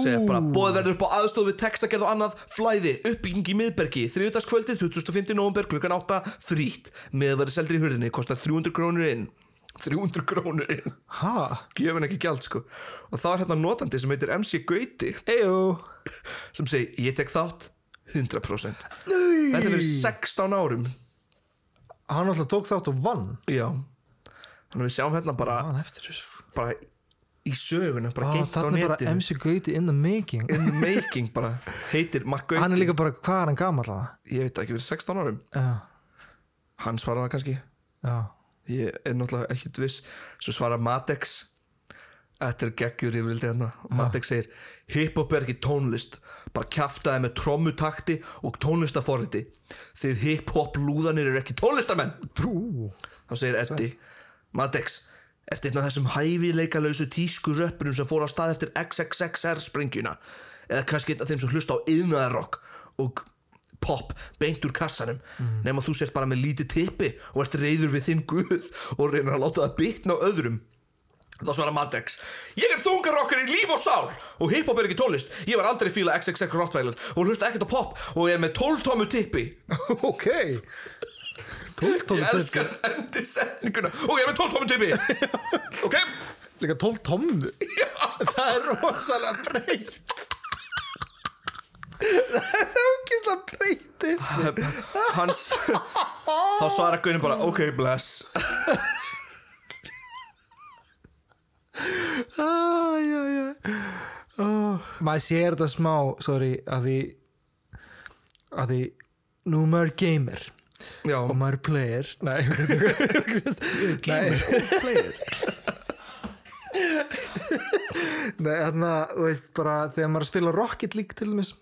Speaker 2: segir bara, bóðið verður upp á aðstof við textagerð og annað flæði, uppbygging í miðbergi þriðudagskvöldi, 25. november, klukkan 8 frýtt, meðverði seldur í hurðinni kostar 300 krónur inn 300 krónur inn,
Speaker 4: ha,
Speaker 2: gefin ekki gjald sko og þá er hérna notandi sem heitir MC Gauti
Speaker 4: eyjó
Speaker 2: sem segir, ég tek þátt 100% Þetta er fyrir 16 árum
Speaker 4: hann alltaf tók þátt og vann Ah.
Speaker 2: Já Þannig að við sjáum hérna bara,
Speaker 4: hann eftir þessu
Speaker 2: bara í söguna bara
Speaker 4: Ó,
Speaker 2: geitt á
Speaker 4: Ah, Þarna er bara
Speaker 2: netinu
Speaker 4: MC Gauti in the making
Speaker 2: in the making bara heitir Makkauti
Speaker 4: Hann er líka bara, hvað er hann gamall að það?
Speaker 2: ég veit ekki, verið 16 árum
Speaker 4: Já,
Speaker 2: hann svaraði það kannski
Speaker 4: já
Speaker 2: ég er náttúrulega ekkert viss svo svarar Matex þetta er geggjur yfirvildi hérna Matex segir hiphop er ekki tónlist bara kjaftaði með trommutakti og tónlistaforriti þið hiphop lúðanir eru ekki tónlistamenn
Speaker 4: Ú,
Speaker 2: þá segir Eddi Matex Ertu einn af þessum hæfileikalausu tísku röppurum sem fór á stað eftir XXXR sprengjuna eða kannski einn af þeim sem hlusta á yðnaðarrock og pop beint úr kassanum nema þú sért bara með lítið tippi og ert reyður við þinn guð og reynir að láta það bytna á öðrum Þá svarar Matex Ég er þungarokkar í líf og sál Og hiphop er ekki tónlist Ég var aldrei fíla XXX Rottweiler Og hlusta ekkert á pop Og er með 12 tómu tippi
Speaker 4: ok Tóltómi
Speaker 2: Ég
Speaker 4: tippi
Speaker 2: elskar endi setninguna Og ég er með 12 tómu tippi Ok
Speaker 4: Líka tóltómi
Speaker 2: Já.
Speaker 4: Það er rosalega breytt Það er ógislega breytt upp.
Speaker 2: Hans Þá svarar Gunni bara Ok bless
Speaker 4: Æ, já, já oh. Maður sér þetta smá, sorry að því að því, nú er maður gamer
Speaker 2: Já
Speaker 4: og maður er player Nei, gamer
Speaker 2: Player
Speaker 4: Nei, þarna, þú veist, bara þegar maður er að spila Rocket League til dæmis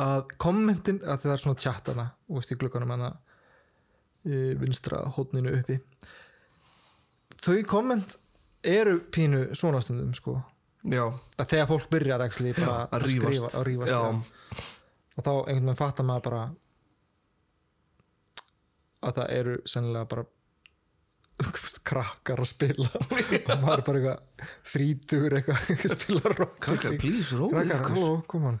Speaker 4: að kommentin, að það er svona tjattana þú veist, í glukkanum hana í vinstra hótninu uppi þau komment eru pínu svona stundum, sko
Speaker 2: Já
Speaker 4: að þegar fólk byrjar actually, bara
Speaker 2: að rífast.
Speaker 4: skrifa, að rífast
Speaker 2: Já.
Speaker 4: já. og þá einhvern veginn fattar maður bara að það eru sennilega bara krakkar að spila og maður er bara eitthvað þrítur eitthvað að spila rock
Speaker 2: Krakkar, please, róið
Speaker 4: krakkar,
Speaker 2: ykkur.
Speaker 4: halló, kom hann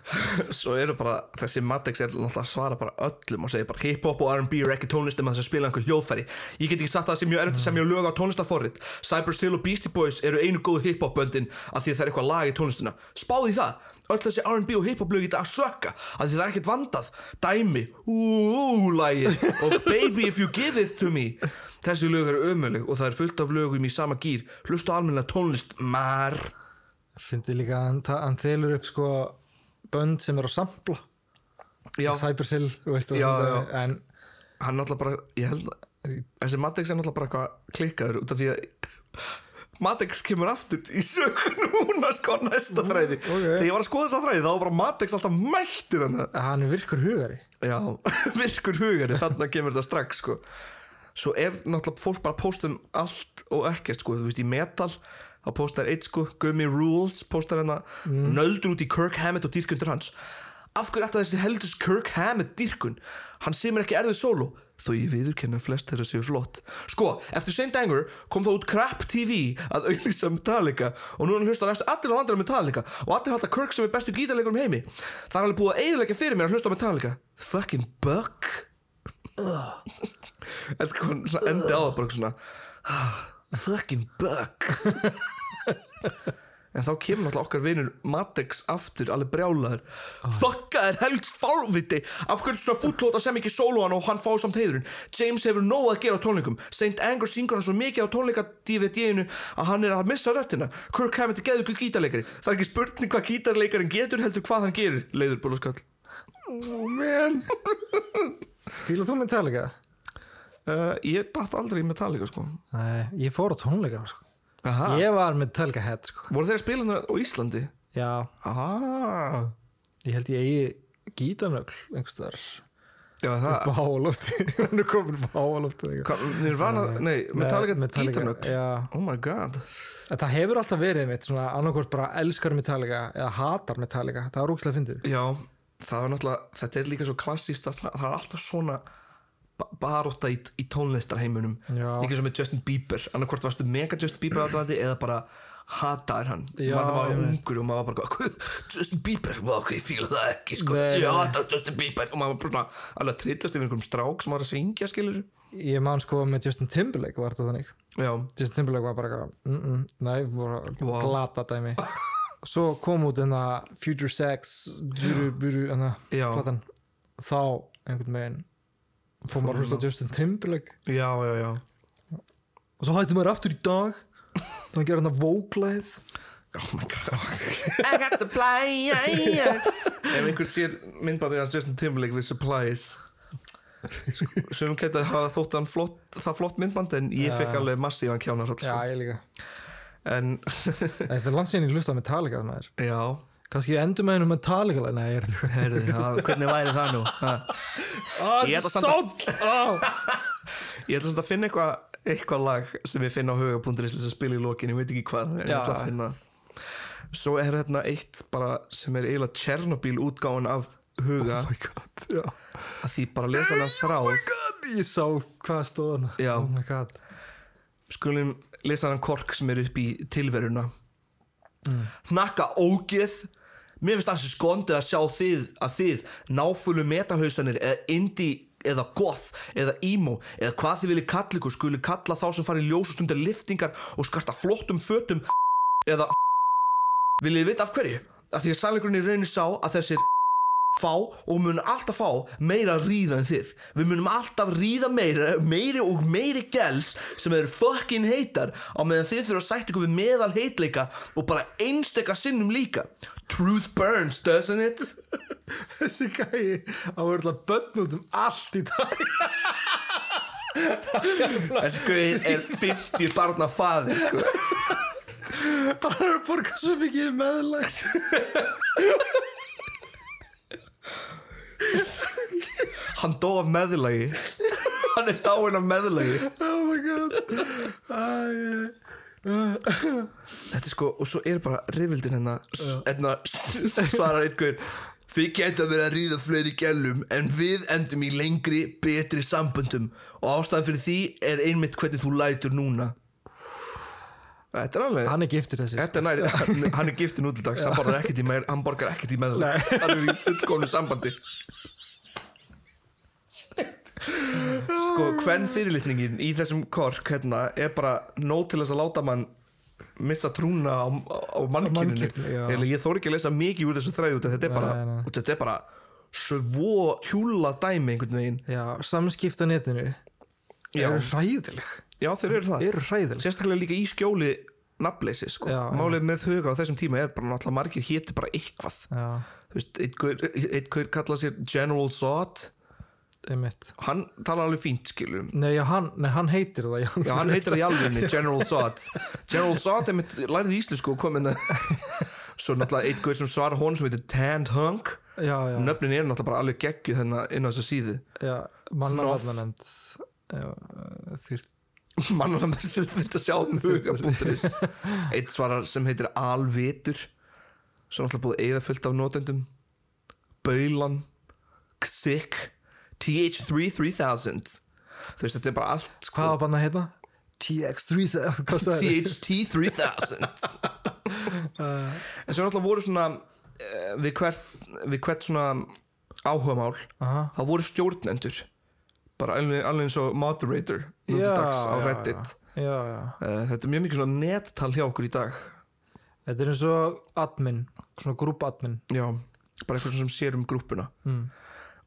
Speaker 2: Svo eru bara Þessi Matex er náttúrulega að svara bara öllum Og segir bara hiphop og R&B er ekki tónlist En maður þess að spila einhver hljóðfæri Ég get ekki sagt að það sé mjög erfitt að semja lög á tónlistaforrit Cyber Steel og Beastie Boys eru einu góð hiphop böndin Af því það er eitthvað lag í tónlistina Spáði það Öll þessi R&B og hiphop lög í dag sökka Af því það er ekkert vandað Dæmi Úúlægi Og Baby If You Give It To Me Þessi lög eru ömuleg Og það er fullt af lögum í sama gýr Hlusta almenna tónlist Mar
Speaker 4: fyndi líka að hann, ta- hann þelur upp sko bönd sem er á sampla
Speaker 2: Já,
Speaker 4: Cybersill, þú veist og
Speaker 2: Já,
Speaker 4: þetta, en
Speaker 2: hann náttúrulega bara ég held að þessi Matex er náttúrulega bara eitthvað klikkaður út af því að Matex kemur aftur í sökun núna sko næsta þræði þegar ég var að skoða þessa þræði þá var bara Matex alltaf mættur hann
Speaker 4: hann er virkur hugari
Speaker 2: já, virkur hugari þarna kemur þetta strax sko svo er náttúrulega fólk bara að pósta um allt og ekkert sko, þú veist í metal þá póstar eitt sko, Gummy Rules póstar hérna, nöldur út í Kirk Hammett og dýrkundur hans af hverju ætti þessi heldus Kirk Hammett dýrkun hann semur ekki erfið solo þó ég viðurkenna að flest þeirra séu flott sko, eftir Saint Anger kom þá út Crap TV að auðvisa Metallica og nú er hann hlusta næstu allir á landur á Metallica og allir halda Kirk sem er bestu gítarleikurum í heimi það er alveg búið að eigðlega fyrir mér að hlusta á Metallica fucking buck elsku hún sko, svona endi á það bara eitthvað svona "Ah, fucking bug en þá kemur náttúrulega okkar vinur Matex aftur alveg brjálaður þokka er helst fárviti af hverju svona fútlóta sem ekki sólóan og hann fá samt heiðurinn James hefur nóg að gera á tónleikum St. Anger syngur hann svo mikið á tónleika DVD-inu að hann er að missa röttina Kirk Hammett er geðugur gítarleikari það er ekki spurning hvað gítarleikarin getur heldur hvað hann gerir leiður búlaskall
Speaker 4: oh man fílar þú Metallica?
Speaker 2: uh, ég datt aldrei í Metallica sko
Speaker 4: Nei, ég fór á tónleikana sko.
Speaker 2: Aha.
Speaker 4: Ég var með Telga Head sko.
Speaker 2: voru þeir að spila hann á Íslandi?
Speaker 4: Já,
Speaker 2: Aha.
Speaker 4: ég held ég eigi gítanögl einhverstaðar
Speaker 2: Já, það
Speaker 4: upp á hálófti Hún er komin upp á hálófti
Speaker 2: Hva- Nirvana, nei, Metallica, Metallica gítarnögg
Speaker 4: Já,
Speaker 2: Oh my god
Speaker 4: en það hefur alltaf verið mitt svona annarkvort bara elskar Metallica eða hatar Metallica, það er rúkslega fyndið
Speaker 2: Já, það var náttúrulega, þetta er líka svo klassíst að það er alltaf svona ba- barátta í, í tónlistarheimunum
Speaker 4: Já.
Speaker 2: líka svo með Justin Bieber annarkvort varstu mega Justin Bieber aðdæðandi eða bara hataðir hann
Speaker 4: Já,
Speaker 2: maður var
Speaker 4: ég veit.
Speaker 2: ungur og maður var bara "Hvað, Justin Bieber, vá, ok, ég fíla það ekki sko.
Speaker 4: Nei,
Speaker 2: ég
Speaker 4: nei.
Speaker 2: hata Justin Bieber og maður var bara svona alveg að trillast yfir einhverjum strák sem var að syngja skilur
Speaker 4: Ég man sko með Justin Timberlake var þetta þannig
Speaker 2: Já,
Speaker 4: Justin Timberlake var bara eitthvað mm -mm, Nei, bara
Speaker 2: Vá.
Speaker 4: glata dæmi Svo kom út enna Future Sex Juru Buru enna
Speaker 2: Já.
Speaker 4: platan Þá einhvern veginn fór maður að hlusta á Justin Timberlake
Speaker 2: já, já, já
Speaker 4: og svo hætti maður aftur í dag þannig að gera hann að vóklaðið
Speaker 2: Oh my god I got supply Ef einhver sér myndbandið hans Justin Timberlake við supplies Sjöfum gæti að hafa þótt hann flott, það flott myndband en ég fekk alveg massívan kjánar sko.
Speaker 4: ég líka
Speaker 2: En
Speaker 4: Það er landsýn ég hlusta á Metallica maður
Speaker 2: já
Speaker 4: Kanski ég endur með hennu Metallica lag, Nei, ég er
Speaker 2: Herðu, já, hvernig væri það nú? Ha? Ég ætla samt að-
Speaker 4: Oh
Speaker 2: Ég ætla samt að finna eitthvað eitthvað lag sem ég finna á huga.is til þess að spila í lokin, ég veit ekki hvað en ég
Speaker 4: Já.
Speaker 2: ætla að finna Svo er hérna eitt bara sem er eiginlega Tjernobyl útgáin af huga
Speaker 4: Oh my god, já
Speaker 2: að því bara lesa hana þráð
Speaker 4: God, Ég sá hvað stóð hann
Speaker 2: Já.
Speaker 4: Oh my god
Speaker 2: skulum lesa hann kork sem er upp í tilveruna hnakka ógeð mér finnst hans skondið að sjá þið að þið náfölu metahausanir eða indie eða goth eða emo eða hvað þið viljið kalla ykkur skulu kalla þá sem farið ljósustundir liftingar og skarta flottum fötum eða viljið þið vita af hverju að því að sannleikurinn í rauninu sá að þessir fá og mun alltaf fá meira að ríða en þið við munum alltaf ríða meira meiri og meiri gels sem eru fucking heitar á meðan þið fyrir að sætt ykkur við meðal heitleika og bara einstekka sinnum líka truth burns doesn't it
Speaker 4: Þessi gæi á örla börn út um allt í dag
Speaker 2: þessi guðið er 50 barna faði sko.
Speaker 4: Hann er að borga svo mikið meðlægt
Speaker 2: hann dó af meðlagi hann er dáinn af meðlagi
Speaker 4: Oh my god Æ,
Speaker 2: Þetta er sko, og svo er bara rifildin hennar hérna, svarar einhver Þið geta verið að ríða fleiri gælum en við endum í lengri, betri samböndum og ástæðan fyrir því er einmitt hvernig þú lætur núna Þetta er alveg
Speaker 4: Hann er giftur þessi
Speaker 2: Þetta er næri, hann, hann er giftin út í dag hann borgar ekkert í meir, hann borgar ekkert í meðlega hann er í fullkomlu sambandi Sko, hvern fyrirlitningin í þessum kork hérna er bara nóg til þess að láta mann missa trúna á, á mannkyninu
Speaker 4: mannkyninu, já.
Speaker 2: Eiginlega, ég þóri ekki að lesa mikið úr þessu þræðu þetta er bara,
Speaker 4: Nei, nei.
Speaker 2: þetta er bara svo hjúla dæmi einhvern veginn
Speaker 4: Já, samskipt á netinu
Speaker 2: Já.
Speaker 4: Eru hræðileg
Speaker 2: Já, þeir eru það
Speaker 4: Eru hræðileg
Speaker 2: sérstaklega líka í skjóli nafnleysi sko.
Speaker 4: Já, já.
Speaker 2: málið með huga á þessum tíma er bara náttúrulega margir héti bara eitthvað
Speaker 4: Já,
Speaker 2: þú veist, einn gaur- einn hver kalla sér General Zod
Speaker 4: einmitt
Speaker 2: hann tala alveg fínt skilum
Speaker 4: Nei, já, hann, nei, hann heitir það já.
Speaker 2: já, hann heitir það í alvegni, General Zod General Zod, einmitt, lærið í íslensku og kom inn að svo náttúrulega einn hver sem svarar honum sem heitir Tanned Hunk
Speaker 4: já, já,
Speaker 2: nöfnin eru náttúrulega bara alveg geggju þennan inn á þessa síðu
Speaker 4: já Mannarvarnanefnd Þýrt
Speaker 2: mannarnamn sem þurft að sjá um huga.is eitt svarar sem heitir Alvitur sem náttúrulega búið eða fullt af notendum Baulan Ksik TH3 3000 þú veist þetta er bara allt
Speaker 4: Hvað
Speaker 2: sko,
Speaker 4: var bann að heita? TX3000 Hvað sagði þið?
Speaker 2: THT 3000 en svo náttúrulega voru svona eh, við hvert, við hvert svona áhugamál
Speaker 4: Aha.
Speaker 2: þá voru stjórnendur bara alveg, alveg eins og moderator nú til
Speaker 4: Já,
Speaker 2: dags á
Speaker 4: já, já.
Speaker 2: Reddit
Speaker 4: Já, já
Speaker 2: Eh, Þetta er mjög mikið svona nettal hjá okkur í dag
Speaker 4: Þetta er eins og admin Svona grúpadmin
Speaker 2: Já, bara eitthvað sem sér um grúppuna mm.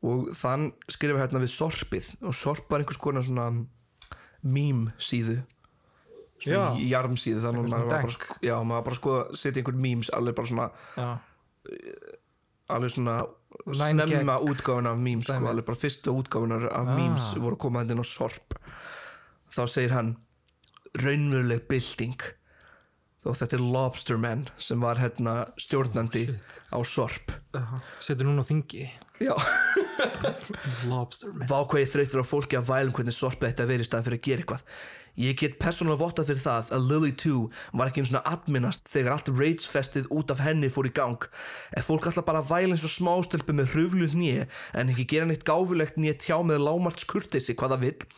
Speaker 2: Og þann skrifa hérna við sorpið Og sorp var einhvers konar svona Mím síðu
Speaker 4: Já.
Speaker 2: Jarm síðu
Speaker 4: svona
Speaker 2: Þannig að maður var bara,
Speaker 4: dank.
Speaker 2: sko- já, maður var bara að skoða Setja einhver memes alveg bara svona
Speaker 4: Já
Speaker 2: Alveg svona
Speaker 4: Nine
Speaker 2: snemma útgáfuna af memes sko,
Speaker 4: Dæmið.
Speaker 2: Alveg bara fyrstu útgáfunar af memes Voru að koma þetta inn á sorp Þá segir hann Raunveruleg bylting Þó þetta er Lobsterman sem var hérna stjórnandi á sorp
Speaker 4: Setur núna á þingi
Speaker 2: Já
Speaker 4: Lobsterman
Speaker 2: Vákvæði þreytur á fólki að vælum hvernig sorpið þetta verið staðan fyrir að gera eitthvað. Ég get persónulega vottað fyrir það að Lily 2 var ekki einu svona adminnast þegar allt ragefestið út af henni fór í gang. Ef fólk ætla bara að væla eins og smástelpu með hrufluð nýje en ekki gera neitt gáfulegt nýje tjá með lámarts kurteisi hvað það vill,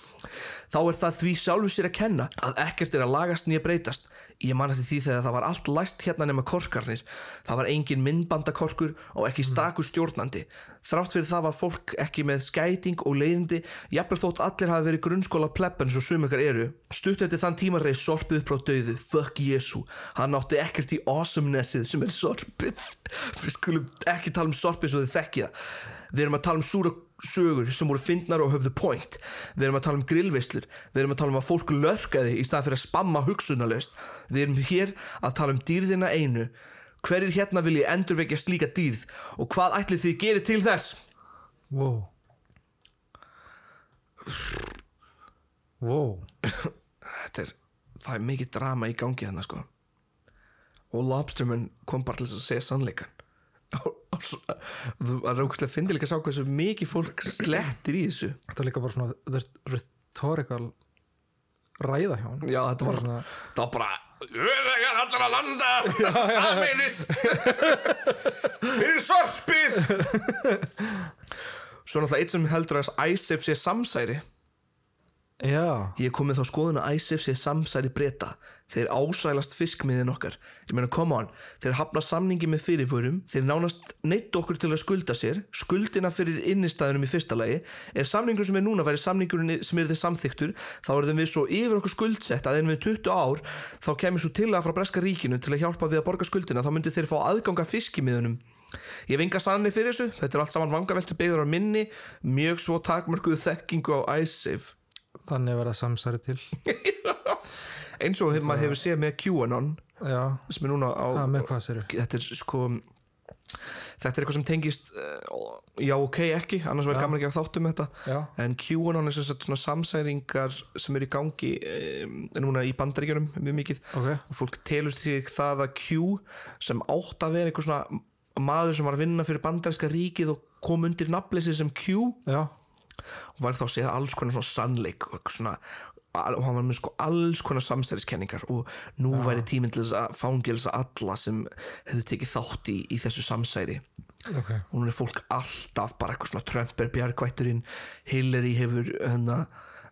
Speaker 2: þá er það því sjálfu sér að kenna að ekkert er að lagast nýja breytast. Ég man eftir því þegar það var allt læst hérna nema korkarnir. Það var engin myndbandakorkur og ekki stakur stjórnandi. Þrátt fyrir það var fólk ekki með skæting og leiðindi, jafnvel þótt allir hafi verið grunnskóla plebben svo sum ykkar eru. Stutt eftir þann tíma reið sorpið upp frá dauðu Fuck Jesu Hann átti ekkert í awesomenessið sem er sorpið Við skulum ekki tala um sorpið svo þið þekkja það. Við erum að tala um súra sögur sem voru fyndnar og höfðu point Við erum að tala um grillveislur Við erum að tala um að fólk lörkaði í staðan fyrir að spamma hugsunalöst Við erum hér að tala um dýrðina einu Hverjir hérna vilji endurvekja slíka dýrð og hvað ætlið þið gerir til þess?
Speaker 4: Wow Wow
Speaker 2: þetta er, það er mikið drama í gangi hérna sko og Lobsterman kom bara til þess að segja sannleikan Og- og svo- það er ógustlega fyndið líka að sá hversu mikið fólk slettir í þessu
Speaker 4: Þetta er líka bara svona þetta er rhetorical ræða hjá hann
Speaker 2: já þetta var,
Speaker 4: Svona-
Speaker 2: það var bara öðvegar allar að landa saminist fyrir sorpið svo náttúrulega eitt sem heldur að ISIF sé samsæri
Speaker 4: Já
Speaker 2: Ég er komið þá skoðun að ISIF sé samsæri breyta. Þeir ásælast fiskmiðin okkar. Ég meina, come on, þeir hafna samningi með fyrirförum, þeir nánast neitt okkur til að skulda sér, skuldina fyrir innistæðunum í fyrsta lagi. Ef samningur sem er núna væri samningurinn sem er þeir samþyktur, þá erum við svo yfir okkur skuldsett að ef við 20 ár, þá kemur svo tillaga frá breska ríkinu til að hjálpa við að borga skuldina, þá myndu þeir fá aðganga fiskimiðunum. Ég hef enga sannir fyrir þessu, þetta er allt saman vangaveltu beigður á minni, mjög svo takmörkuðu þekkingu á ISIF.
Speaker 4: Þannig verða samsæri til
Speaker 2: eins og hef, maður hefur séð með QAnon
Speaker 4: Já
Speaker 2: sem er núna á
Speaker 4: Það með hvað sér
Speaker 2: þetta er sko þetta er eitthvað sem tengist uh, já ok ekki, annars verður gaman að gera þáttum þetta
Speaker 4: Já.
Speaker 2: en QAnon er sem sagt svona samsæringar sem eru í gangi um, núna í bandaríkjunum mjög mikið
Speaker 4: Ok.
Speaker 2: og fólk telur því það að Q sem átt að vera eitthvað svona maður sem var að vinna fyrir bandaríska ríkið og kom undir nafnleysi sem Q
Speaker 4: Já
Speaker 2: og var þá að segja alls konar svona sannleik og eitthvað svona al- og hann var með sko alls konar samsæriskenningar og nú væri tíminn til þess að fangelsa alla sem hefðu tekið þátt í, í þessu samsæri
Speaker 4: Ok
Speaker 2: og núna er fólk alltaf bara eitthvað svona Trump er bjargvætturinn Hillary hefur hana,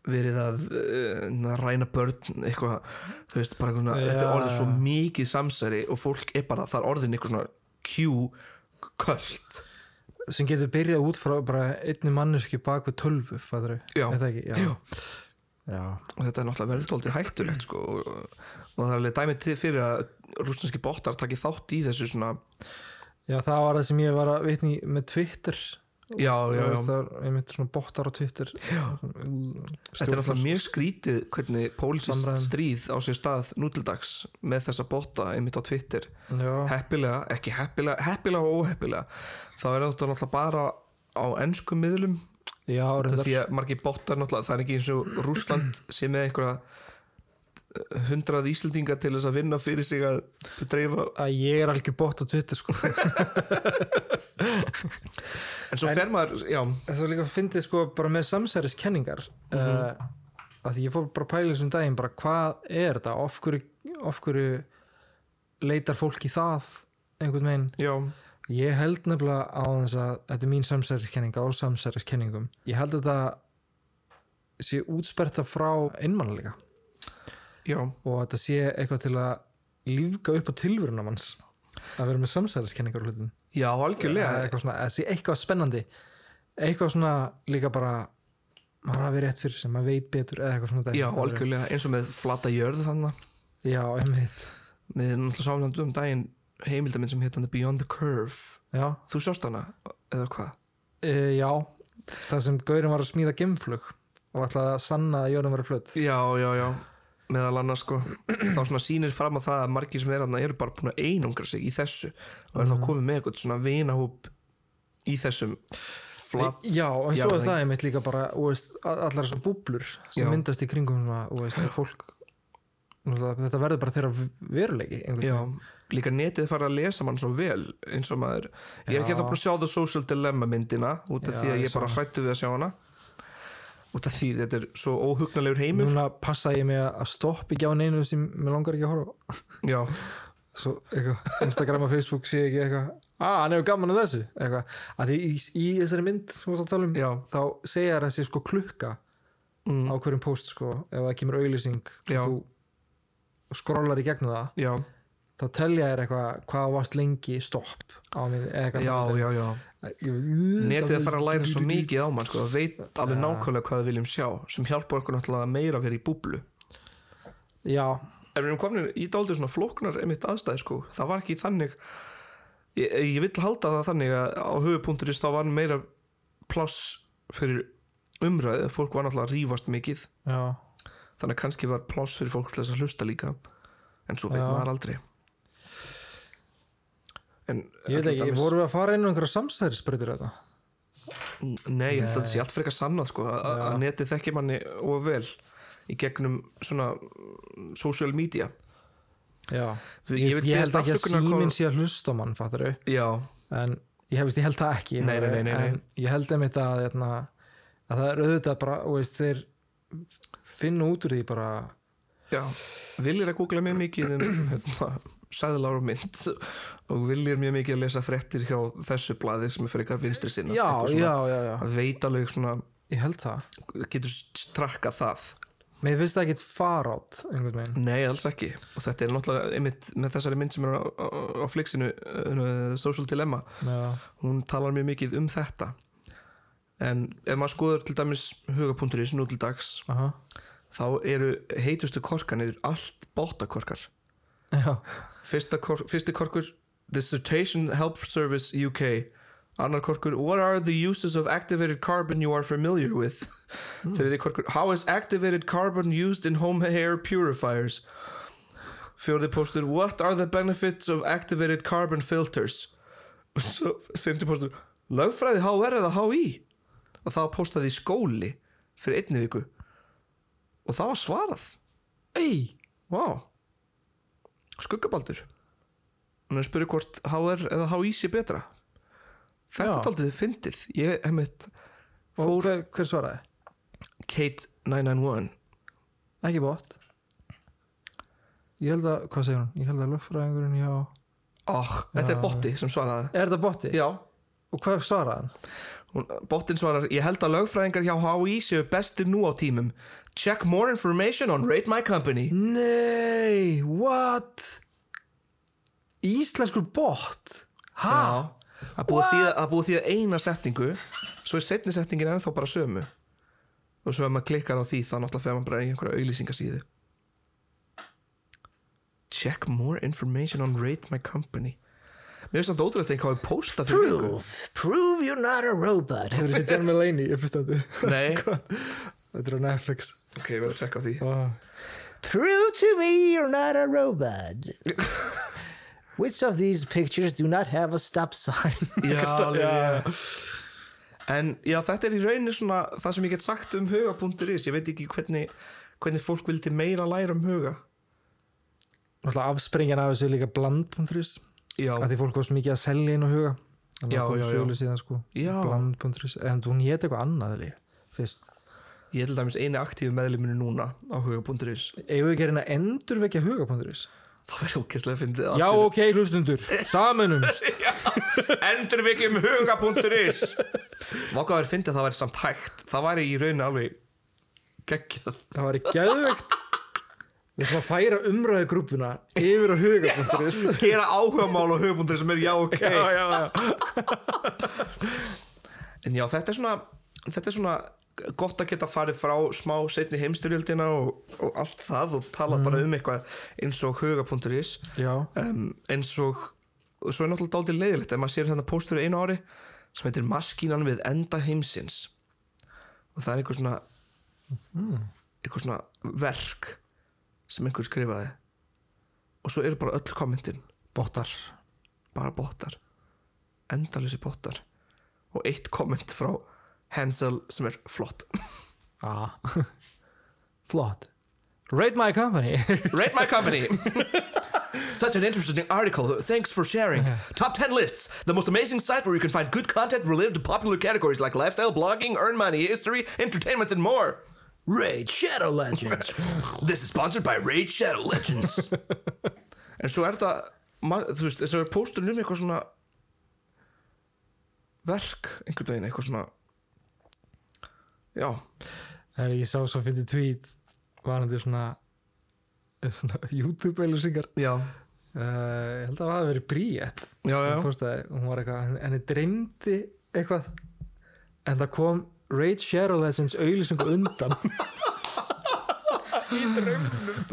Speaker 2: verið að uh, ræna börn eitthvað, þú veist, bara eitthvað svona
Speaker 4: Já.
Speaker 2: þetta er orðið svo mikið samsæri og fólk er bara, það er orðin eitthvað svona Q kvöld
Speaker 4: Sem getur byrjað út frá bara einni manneski bak við tölvu Fæður
Speaker 2: Já.
Speaker 4: Er það ekki? Já
Speaker 2: Jú.
Speaker 4: Já
Speaker 2: og þetta er náttúrulega verið tóltið hættulegt sko, og, og það er alveg dæmið til fyrir að rúsneski bóttar taki þátt í þessu svona
Speaker 4: Já það var það sem ég var að vitni í með Twitter
Speaker 2: já, já, já.
Speaker 4: Það er einmitt svona bottar á Twitter Já
Speaker 2: þetta er náttúrulega mjög skrítið hvernig pólitískt
Speaker 4: Samræðum.
Speaker 2: stríð á sér stað nútildags með þessa bótta einmitt á Twitter
Speaker 4: Já
Speaker 2: heppilega, ekki heppilega, heppilega og óheppilega þá er þetta náttúrulega bara á ennskum miðlum
Speaker 4: Já
Speaker 2: Þetta
Speaker 4: reyndar
Speaker 2: því að margir bóttar náttúrulega það er ekki eins og Rúsland sem er einhverja eh, hundrað Íslendinga til þess að vinna fyrir sig að dreifa
Speaker 4: Að ég er algjör bótt á Twitter sko
Speaker 2: en svo fer maður, já,
Speaker 4: það var líka að fyndið sko bara með samsæriskenningar mm að því ég fór bara að pæla þessum daginn bara hvað er þetta, af hverju, af hverju leitar fólk í það einhvern veginn
Speaker 2: já
Speaker 4: ég held nefnilega á þess að þetta er mín samsæriskenninga og samsæriskenningum ég held að þetta sé útsperta frá einmannleika
Speaker 2: Já,
Speaker 4: og þetta sé eitthvað til að lífga upp á tilvöruna manns að vera með samsæriskenningar og hlutin
Speaker 2: já
Speaker 4: Eða
Speaker 2: algjörlega
Speaker 4: eitthvað svona, eða sé eitthvað spennandi eitthvað svona líka bara maður hafi rétt fyrir sem maður veit betur eða eitthvað svona dæmi.
Speaker 2: Já,
Speaker 4: Það eru-
Speaker 2: algjörlega, eins og með flata jörðu þannig
Speaker 4: já, einmitt
Speaker 2: Við erum náttúrulega sáfnandi um daginn heimildaminn sem hétt hann Beyond the Curve
Speaker 4: já,
Speaker 2: Þú sjást hana, eða hvað?
Speaker 4: e, já, það sem Gaurin var að smíða gemflug og ætlaði að sanna að jörðum verið flött
Speaker 2: Já, já, já, meðal annars sko Þá svona sýnir fram á það að margir sem er hann eru bara búin að einangra sig í þessu og er þá komið með eitthvað svona vinahóp í þessum flat
Speaker 4: E, já, en
Speaker 2: Já,
Speaker 4: svo er
Speaker 2: það-
Speaker 4: það einmitt líka bara þú veist, a- allar svona búblur sem
Speaker 2: Já.
Speaker 4: myndast í kringum svona, þú veist, þegar fólk náttúrulega, þetta verður bara þeirra veruleiki einhvern
Speaker 2: Já,
Speaker 4: veginn.
Speaker 2: líka netið fara að lesa mann svo vel eins og maður Ég er ekki
Speaker 4: Já.
Speaker 2: að það búin að sjá The Social Dilemma myndina út af
Speaker 4: Já,
Speaker 2: því að
Speaker 4: ég
Speaker 2: ég bara
Speaker 4: sá
Speaker 2: hrættu við að sjá hana út af því þetta er svo óhugnalegur heimur
Speaker 4: núna passa ég mig að stoppa ekki á neinu sem mér langar ekki að horfa á.
Speaker 2: Já,
Speaker 4: svo eitthvað Instagram og Facebook sé ekki eitthvað ah, hann hefur gaman að þessu eitthvað að því í, í þessari mynd sem við varst að tala um
Speaker 2: Já. mm,
Speaker 4: þá segja þér að þessi sko klukka á hverjum post sko ef það kemur auðlýsing
Speaker 2: Já.
Speaker 4: þú skrólar í gegnum það
Speaker 2: já,
Speaker 4: þá telja þér eitthvað hvað þú varst lengi stopp á mig eða eitthvað
Speaker 2: já,
Speaker 4: þannig.
Speaker 2: já, já
Speaker 4: Ég-
Speaker 2: Netið fara að læra svo mikið á mann sko, það veit alveg nákvæmlega hvað við viljum sjá sem hjálpar okkur náttúrulega meira að vera í búblu
Speaker 4: já,
Speaker 2: En við erum komin í dálítið svona flóknar einmitt aðstæði sko. Það var ekki þannig ég, ég vill halda það þannig að á höfupunkturist þá var meira pláss fyrir umræðu fólk var náttúrulega að rífast mikið
Speaker 4: já
Speaker 2: þannig að kannski var pláss fyrir fólk til þess að hlusta líka en svo veit
Speaker 4: Já.
Speaker 2: maður aldrei en
Speaker 4: ég veit
Speaker 2: allir
Speaker 4: ekki,
Speaker 2: dæmis-
Speaker 4: vorum við að fara inn á einhverja samsæðisbreytur þetta
Speaker 2: Nei, ég held að þetta sé allt frekar sannað sko, að- að að netið þekki manni og vel í gegnum svona mm, social media
Speaker 4: já, ég,
Speaker 2: Þú- ég
Speaker 4: ég, held
Speaker 2: vil biðjast
Speaker 4: ekki að
Speaker 2: afsökunar,
Speaker 4: síminn
Speaker 2: Konráð.
Speaker 4: sé að hlusta á mann, fattur þau
Speaker 2: Já,
Speaker 4: en ég, veist, ég held það ekki
Speaker 2: Nei, nei, nei, nei, nei.
Speaker 4: en ég held einmitt að, hérna, að það er auðvitað bara og veist, þeir finna út úr því bara
Speaker 2: já Viljir að googla mjög mikið um hérna, sæðlar og mynd og viljir mjög mikið að lesa fréttir hjá þessu blaði sem er frekar vinstri sinna
Speaker 4: já, já, já, já,
Speaker 2: að veit alveg svona
Speaker 4: ég held það
Speaker 2: getur strakka það
Speaker 4: mér finnst það ekkit far átt einhvern veginn
Speaker 2: Nei, alls ekki og þetta er náttúrulega einmitt með þessari mynd sem er á, á, á fliksinu uh, Social Dilemma
Speaker 4: já,
Speaker 2: hún talar mjög mikið um þetta en ef maður skoður til dæmis hugapunkturins nú til dags
Speaker 4: aha,
Speaker 2: þá eru heitustu korkanir allt bóttakorkar
Speaker 4: já,
Speaker 2: Fyrsta kor fyrsti korkur Dissertation Help Service UK annar korkur What are the uses of activated carbon you are familiar with þriði korkur How is activated carbon used in home hair purifiers fjórði postur What are the benefits of activated carbon filters Og svo fymti postur Lögfræði HR eða HÍ og það var postaði í skóli fyrir einni viku og það var svarað Ei, vá Skuggabaldur Hún er að spyrja hvort HR eða HÍ sé betra Þetta
Speaker 4: Já.
Speaker 2: er aldrei fyndið Ég hef mitt
Speaker 4: og hver, hver svaraði?
Speaker 2: Kate 991
Speaker 4: ekki bótt ég held að, hvað segir hún? ég held að löffræðingurinn hjá
Speaker 2: oh, Þetta
Speaker 4: Já.
Speaker 2: er botti sem svaraði
Speaker 4: er þetta botti?
Speaker 2: Já
Speaker 4: og hvað svaraði hann?
Speaker 2: Hún, Bottin svarar Ég held að lögfræðingar hjá HÍ séu bestir nú á tímum Check more information on Rate My Company
Speaker 4: Nei, what? Íslenskur bot? Ha?
Speaker 2: Það er búið að þýða- það er búið að þýða eina setningu Svo er setni setningin ennþá bara sömu Og svo ef maður klikkar á því Þá náttúrulega fer maður bara í einhverja auglýsingasíðu Check more information on rate my company Mér finnst þetta ótrúlega þegar hvað við posta fyrir viku.
Speaker 4: prove you're not a robot Hefur þessi John Mulaney í fyrstandi?
Speaker 2: Nei.
Speaker 4: Þetta er á Netflix
Speaker 2: Ok, við erum að checka á því
Speaker 4: Prove to me you're not a robot Which of these pictures do not have a stop sign?
Speaker 2: Já, alveg, já En já, þetta er í rauninni svona það sem ég get sagt um huga.is Ég veit ekki hvernig, hvernig fólk vildi meira læra um huga
Speaker 4: Náttúrulega afspringjan af þessu er líka bland.ris
Speaker 2: Já,
Speaker 4: að því fólk var svo mikið að selja inn og huga Þannig
Speaker 2: Já,
Speaker 4: að kom
Speaker 2: já, já.
Speaker 4: sölu síðan sko
Speaker 2: Já.
Speaker 4: bland.ris en hún hétt eitthvað annað líka Þvist,
Speaker 2: ég held dæmis eini aktífu meðluminu núna á huga.is
Speaker 4: eigum við ekki að reyna að endurvekja huga.ris
Speaker 2: Það verður ókesslega að fyndið
Speaker 4: Já, ok, hlustundur, samanumst
Speaker 2: Endur við ekki um huga.is Vákaður fyndið að það væri samt hægt Það væri í raun alveg geggjað
Speaker 4: Það var í geðvegt Við ætlum að færa umræðu grúpuna yfir á huga.is
Speaker 2: Gera áhuga mál á huga.is sem er já ok já, já, já. En já þetta er svona Þetta er svona gott að geta farið frá smá setni heimstyrjöldina og, og allt það og tala bara um eitthvað eins og huga.is
Speaker 4: Já,
Speaker 2: um, eins og og svo er náttúrulega dálítið leiðilegt ef maður sér þetta póst fyrir einu ári sem heitir Maskínan við enda heimsins og það er einhver svona einhver svona verk sem einhver skrifaði og svo eru bara öll kommentin
Speaker 4: bóttar
Speaker 2: bara bottar endalösi bottar og eitt komment frá Hansel sem er flott
Speaker 4: ah. Flott Rate my company
Speaker 2: Rate my company. Such an interesting article. Thanks for sharing. Top 10 lists. The most amazing site where you can find good content related to popular categories like lifestyle, blogging, earn money, history, entertainment, and more.
Speaker 4: Raid Shadow Legends
Speaker 2: This is sponsored by Raid Shadow Legends. en svo er þetta, ma- þú veist, þess að við póstum um eitthvað svona verk, einhvern veginn, eitthvað svona, já,
Speaker 4: Það er ég sá svo fyrir tweet varandi svona, svona YouTube-eilusingar
Speaker 2: já,
Speaker 4: Uh, ég held að það hafi verið Bríett
Speaker 2: já, já,
Speaker 4: hún postaði, hún var eitthvað henni dreymdi eitthvað en það kom Raid Shadow Legends auðlýsingu undan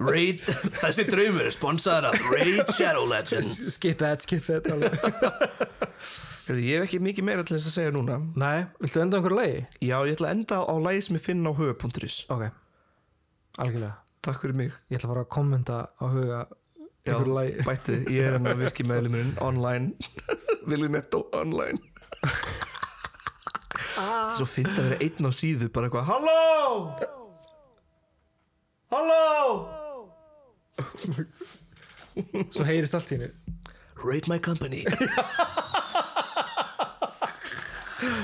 Speaker 2: Raid, þessi draumur er sponsaður af Raid Shadow Legends
Speaker 4: skip that, skip that alveg.
Speaker 2: Heyrðu, Ég hef ekki mikið meira til þess að segja núna
Speaker 4: Nei, viltu enda á einhverju lagi?
Speaker 2: Já, ég ætla að enda á lægi sem ég finn á huga.is
Speaker 4: Ok, algjörlega
Speaker 2: Takk fyrir mig
Speaker 4: Ég ætla að fara að kommenta á huga
Speaker 2: Já,
Speaker 4: einhverju lagi
Speaker 2: bætti, ég er hann að virki meðlumurinn online Vilju netto online Þetta er svo fyndi að vera einn á síðu bara eitthvað Halló Halló
Speaker 4: Svo heyrist allt í henni
Speaker 2: Raid my company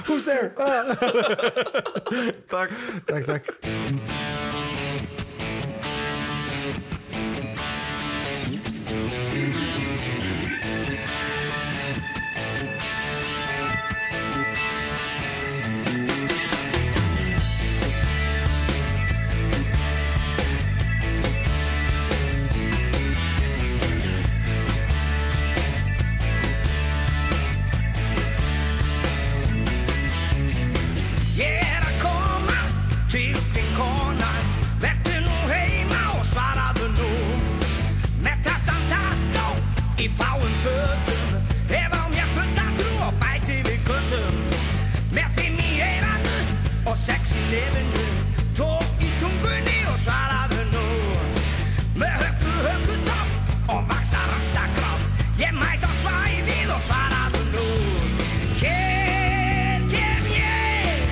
Speaker 4: Who's there? Ah.
Speaker 2: Takk
Speaker 4: takk, takk
Speaker 6: Ég er að koma til þinn kona Vertu nú heima og svaraðu nú Netta samt aðtó í fáum fötum Ef á mér fulla trú og bæti við göttum Með fimm í eiranu og sex í lefinu Tók í tungunni og svaraðu nú Með höggu höggu topp og vaksta randakrátt Ég mæt á svæðið og svaraðu nú Hér kem ég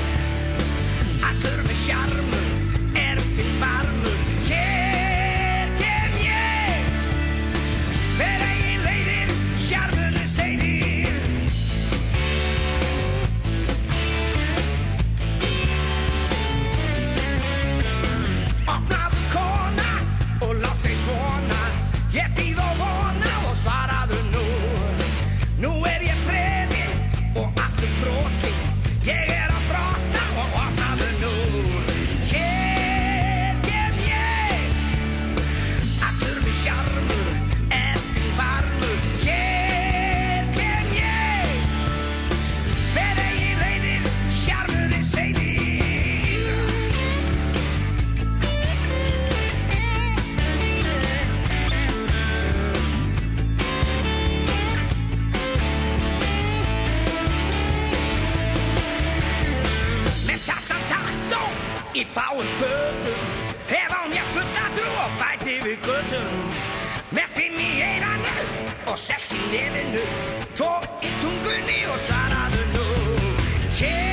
Speaker 6: Allur með sjarmur er til varmur Hér kem ég Hver eigin leiðir sjarmurinn segir Opnaðu kona og látt þig svona Ég býð og vona og svaraðu nú Nú er ég freðin og allur frosin Ég er að brotna og opnaðu nú Hér kem ég Allur við sjarmur er því varmur Hér kem ég Hver eigin leiðir sjarmurinn segir Með kassan tattó í fáum fötum Hef á mér fulla trú og bæti við göttum Með fimm í eiranu og sex í lefinu Tvo í tungunni og svaraðu nú Hér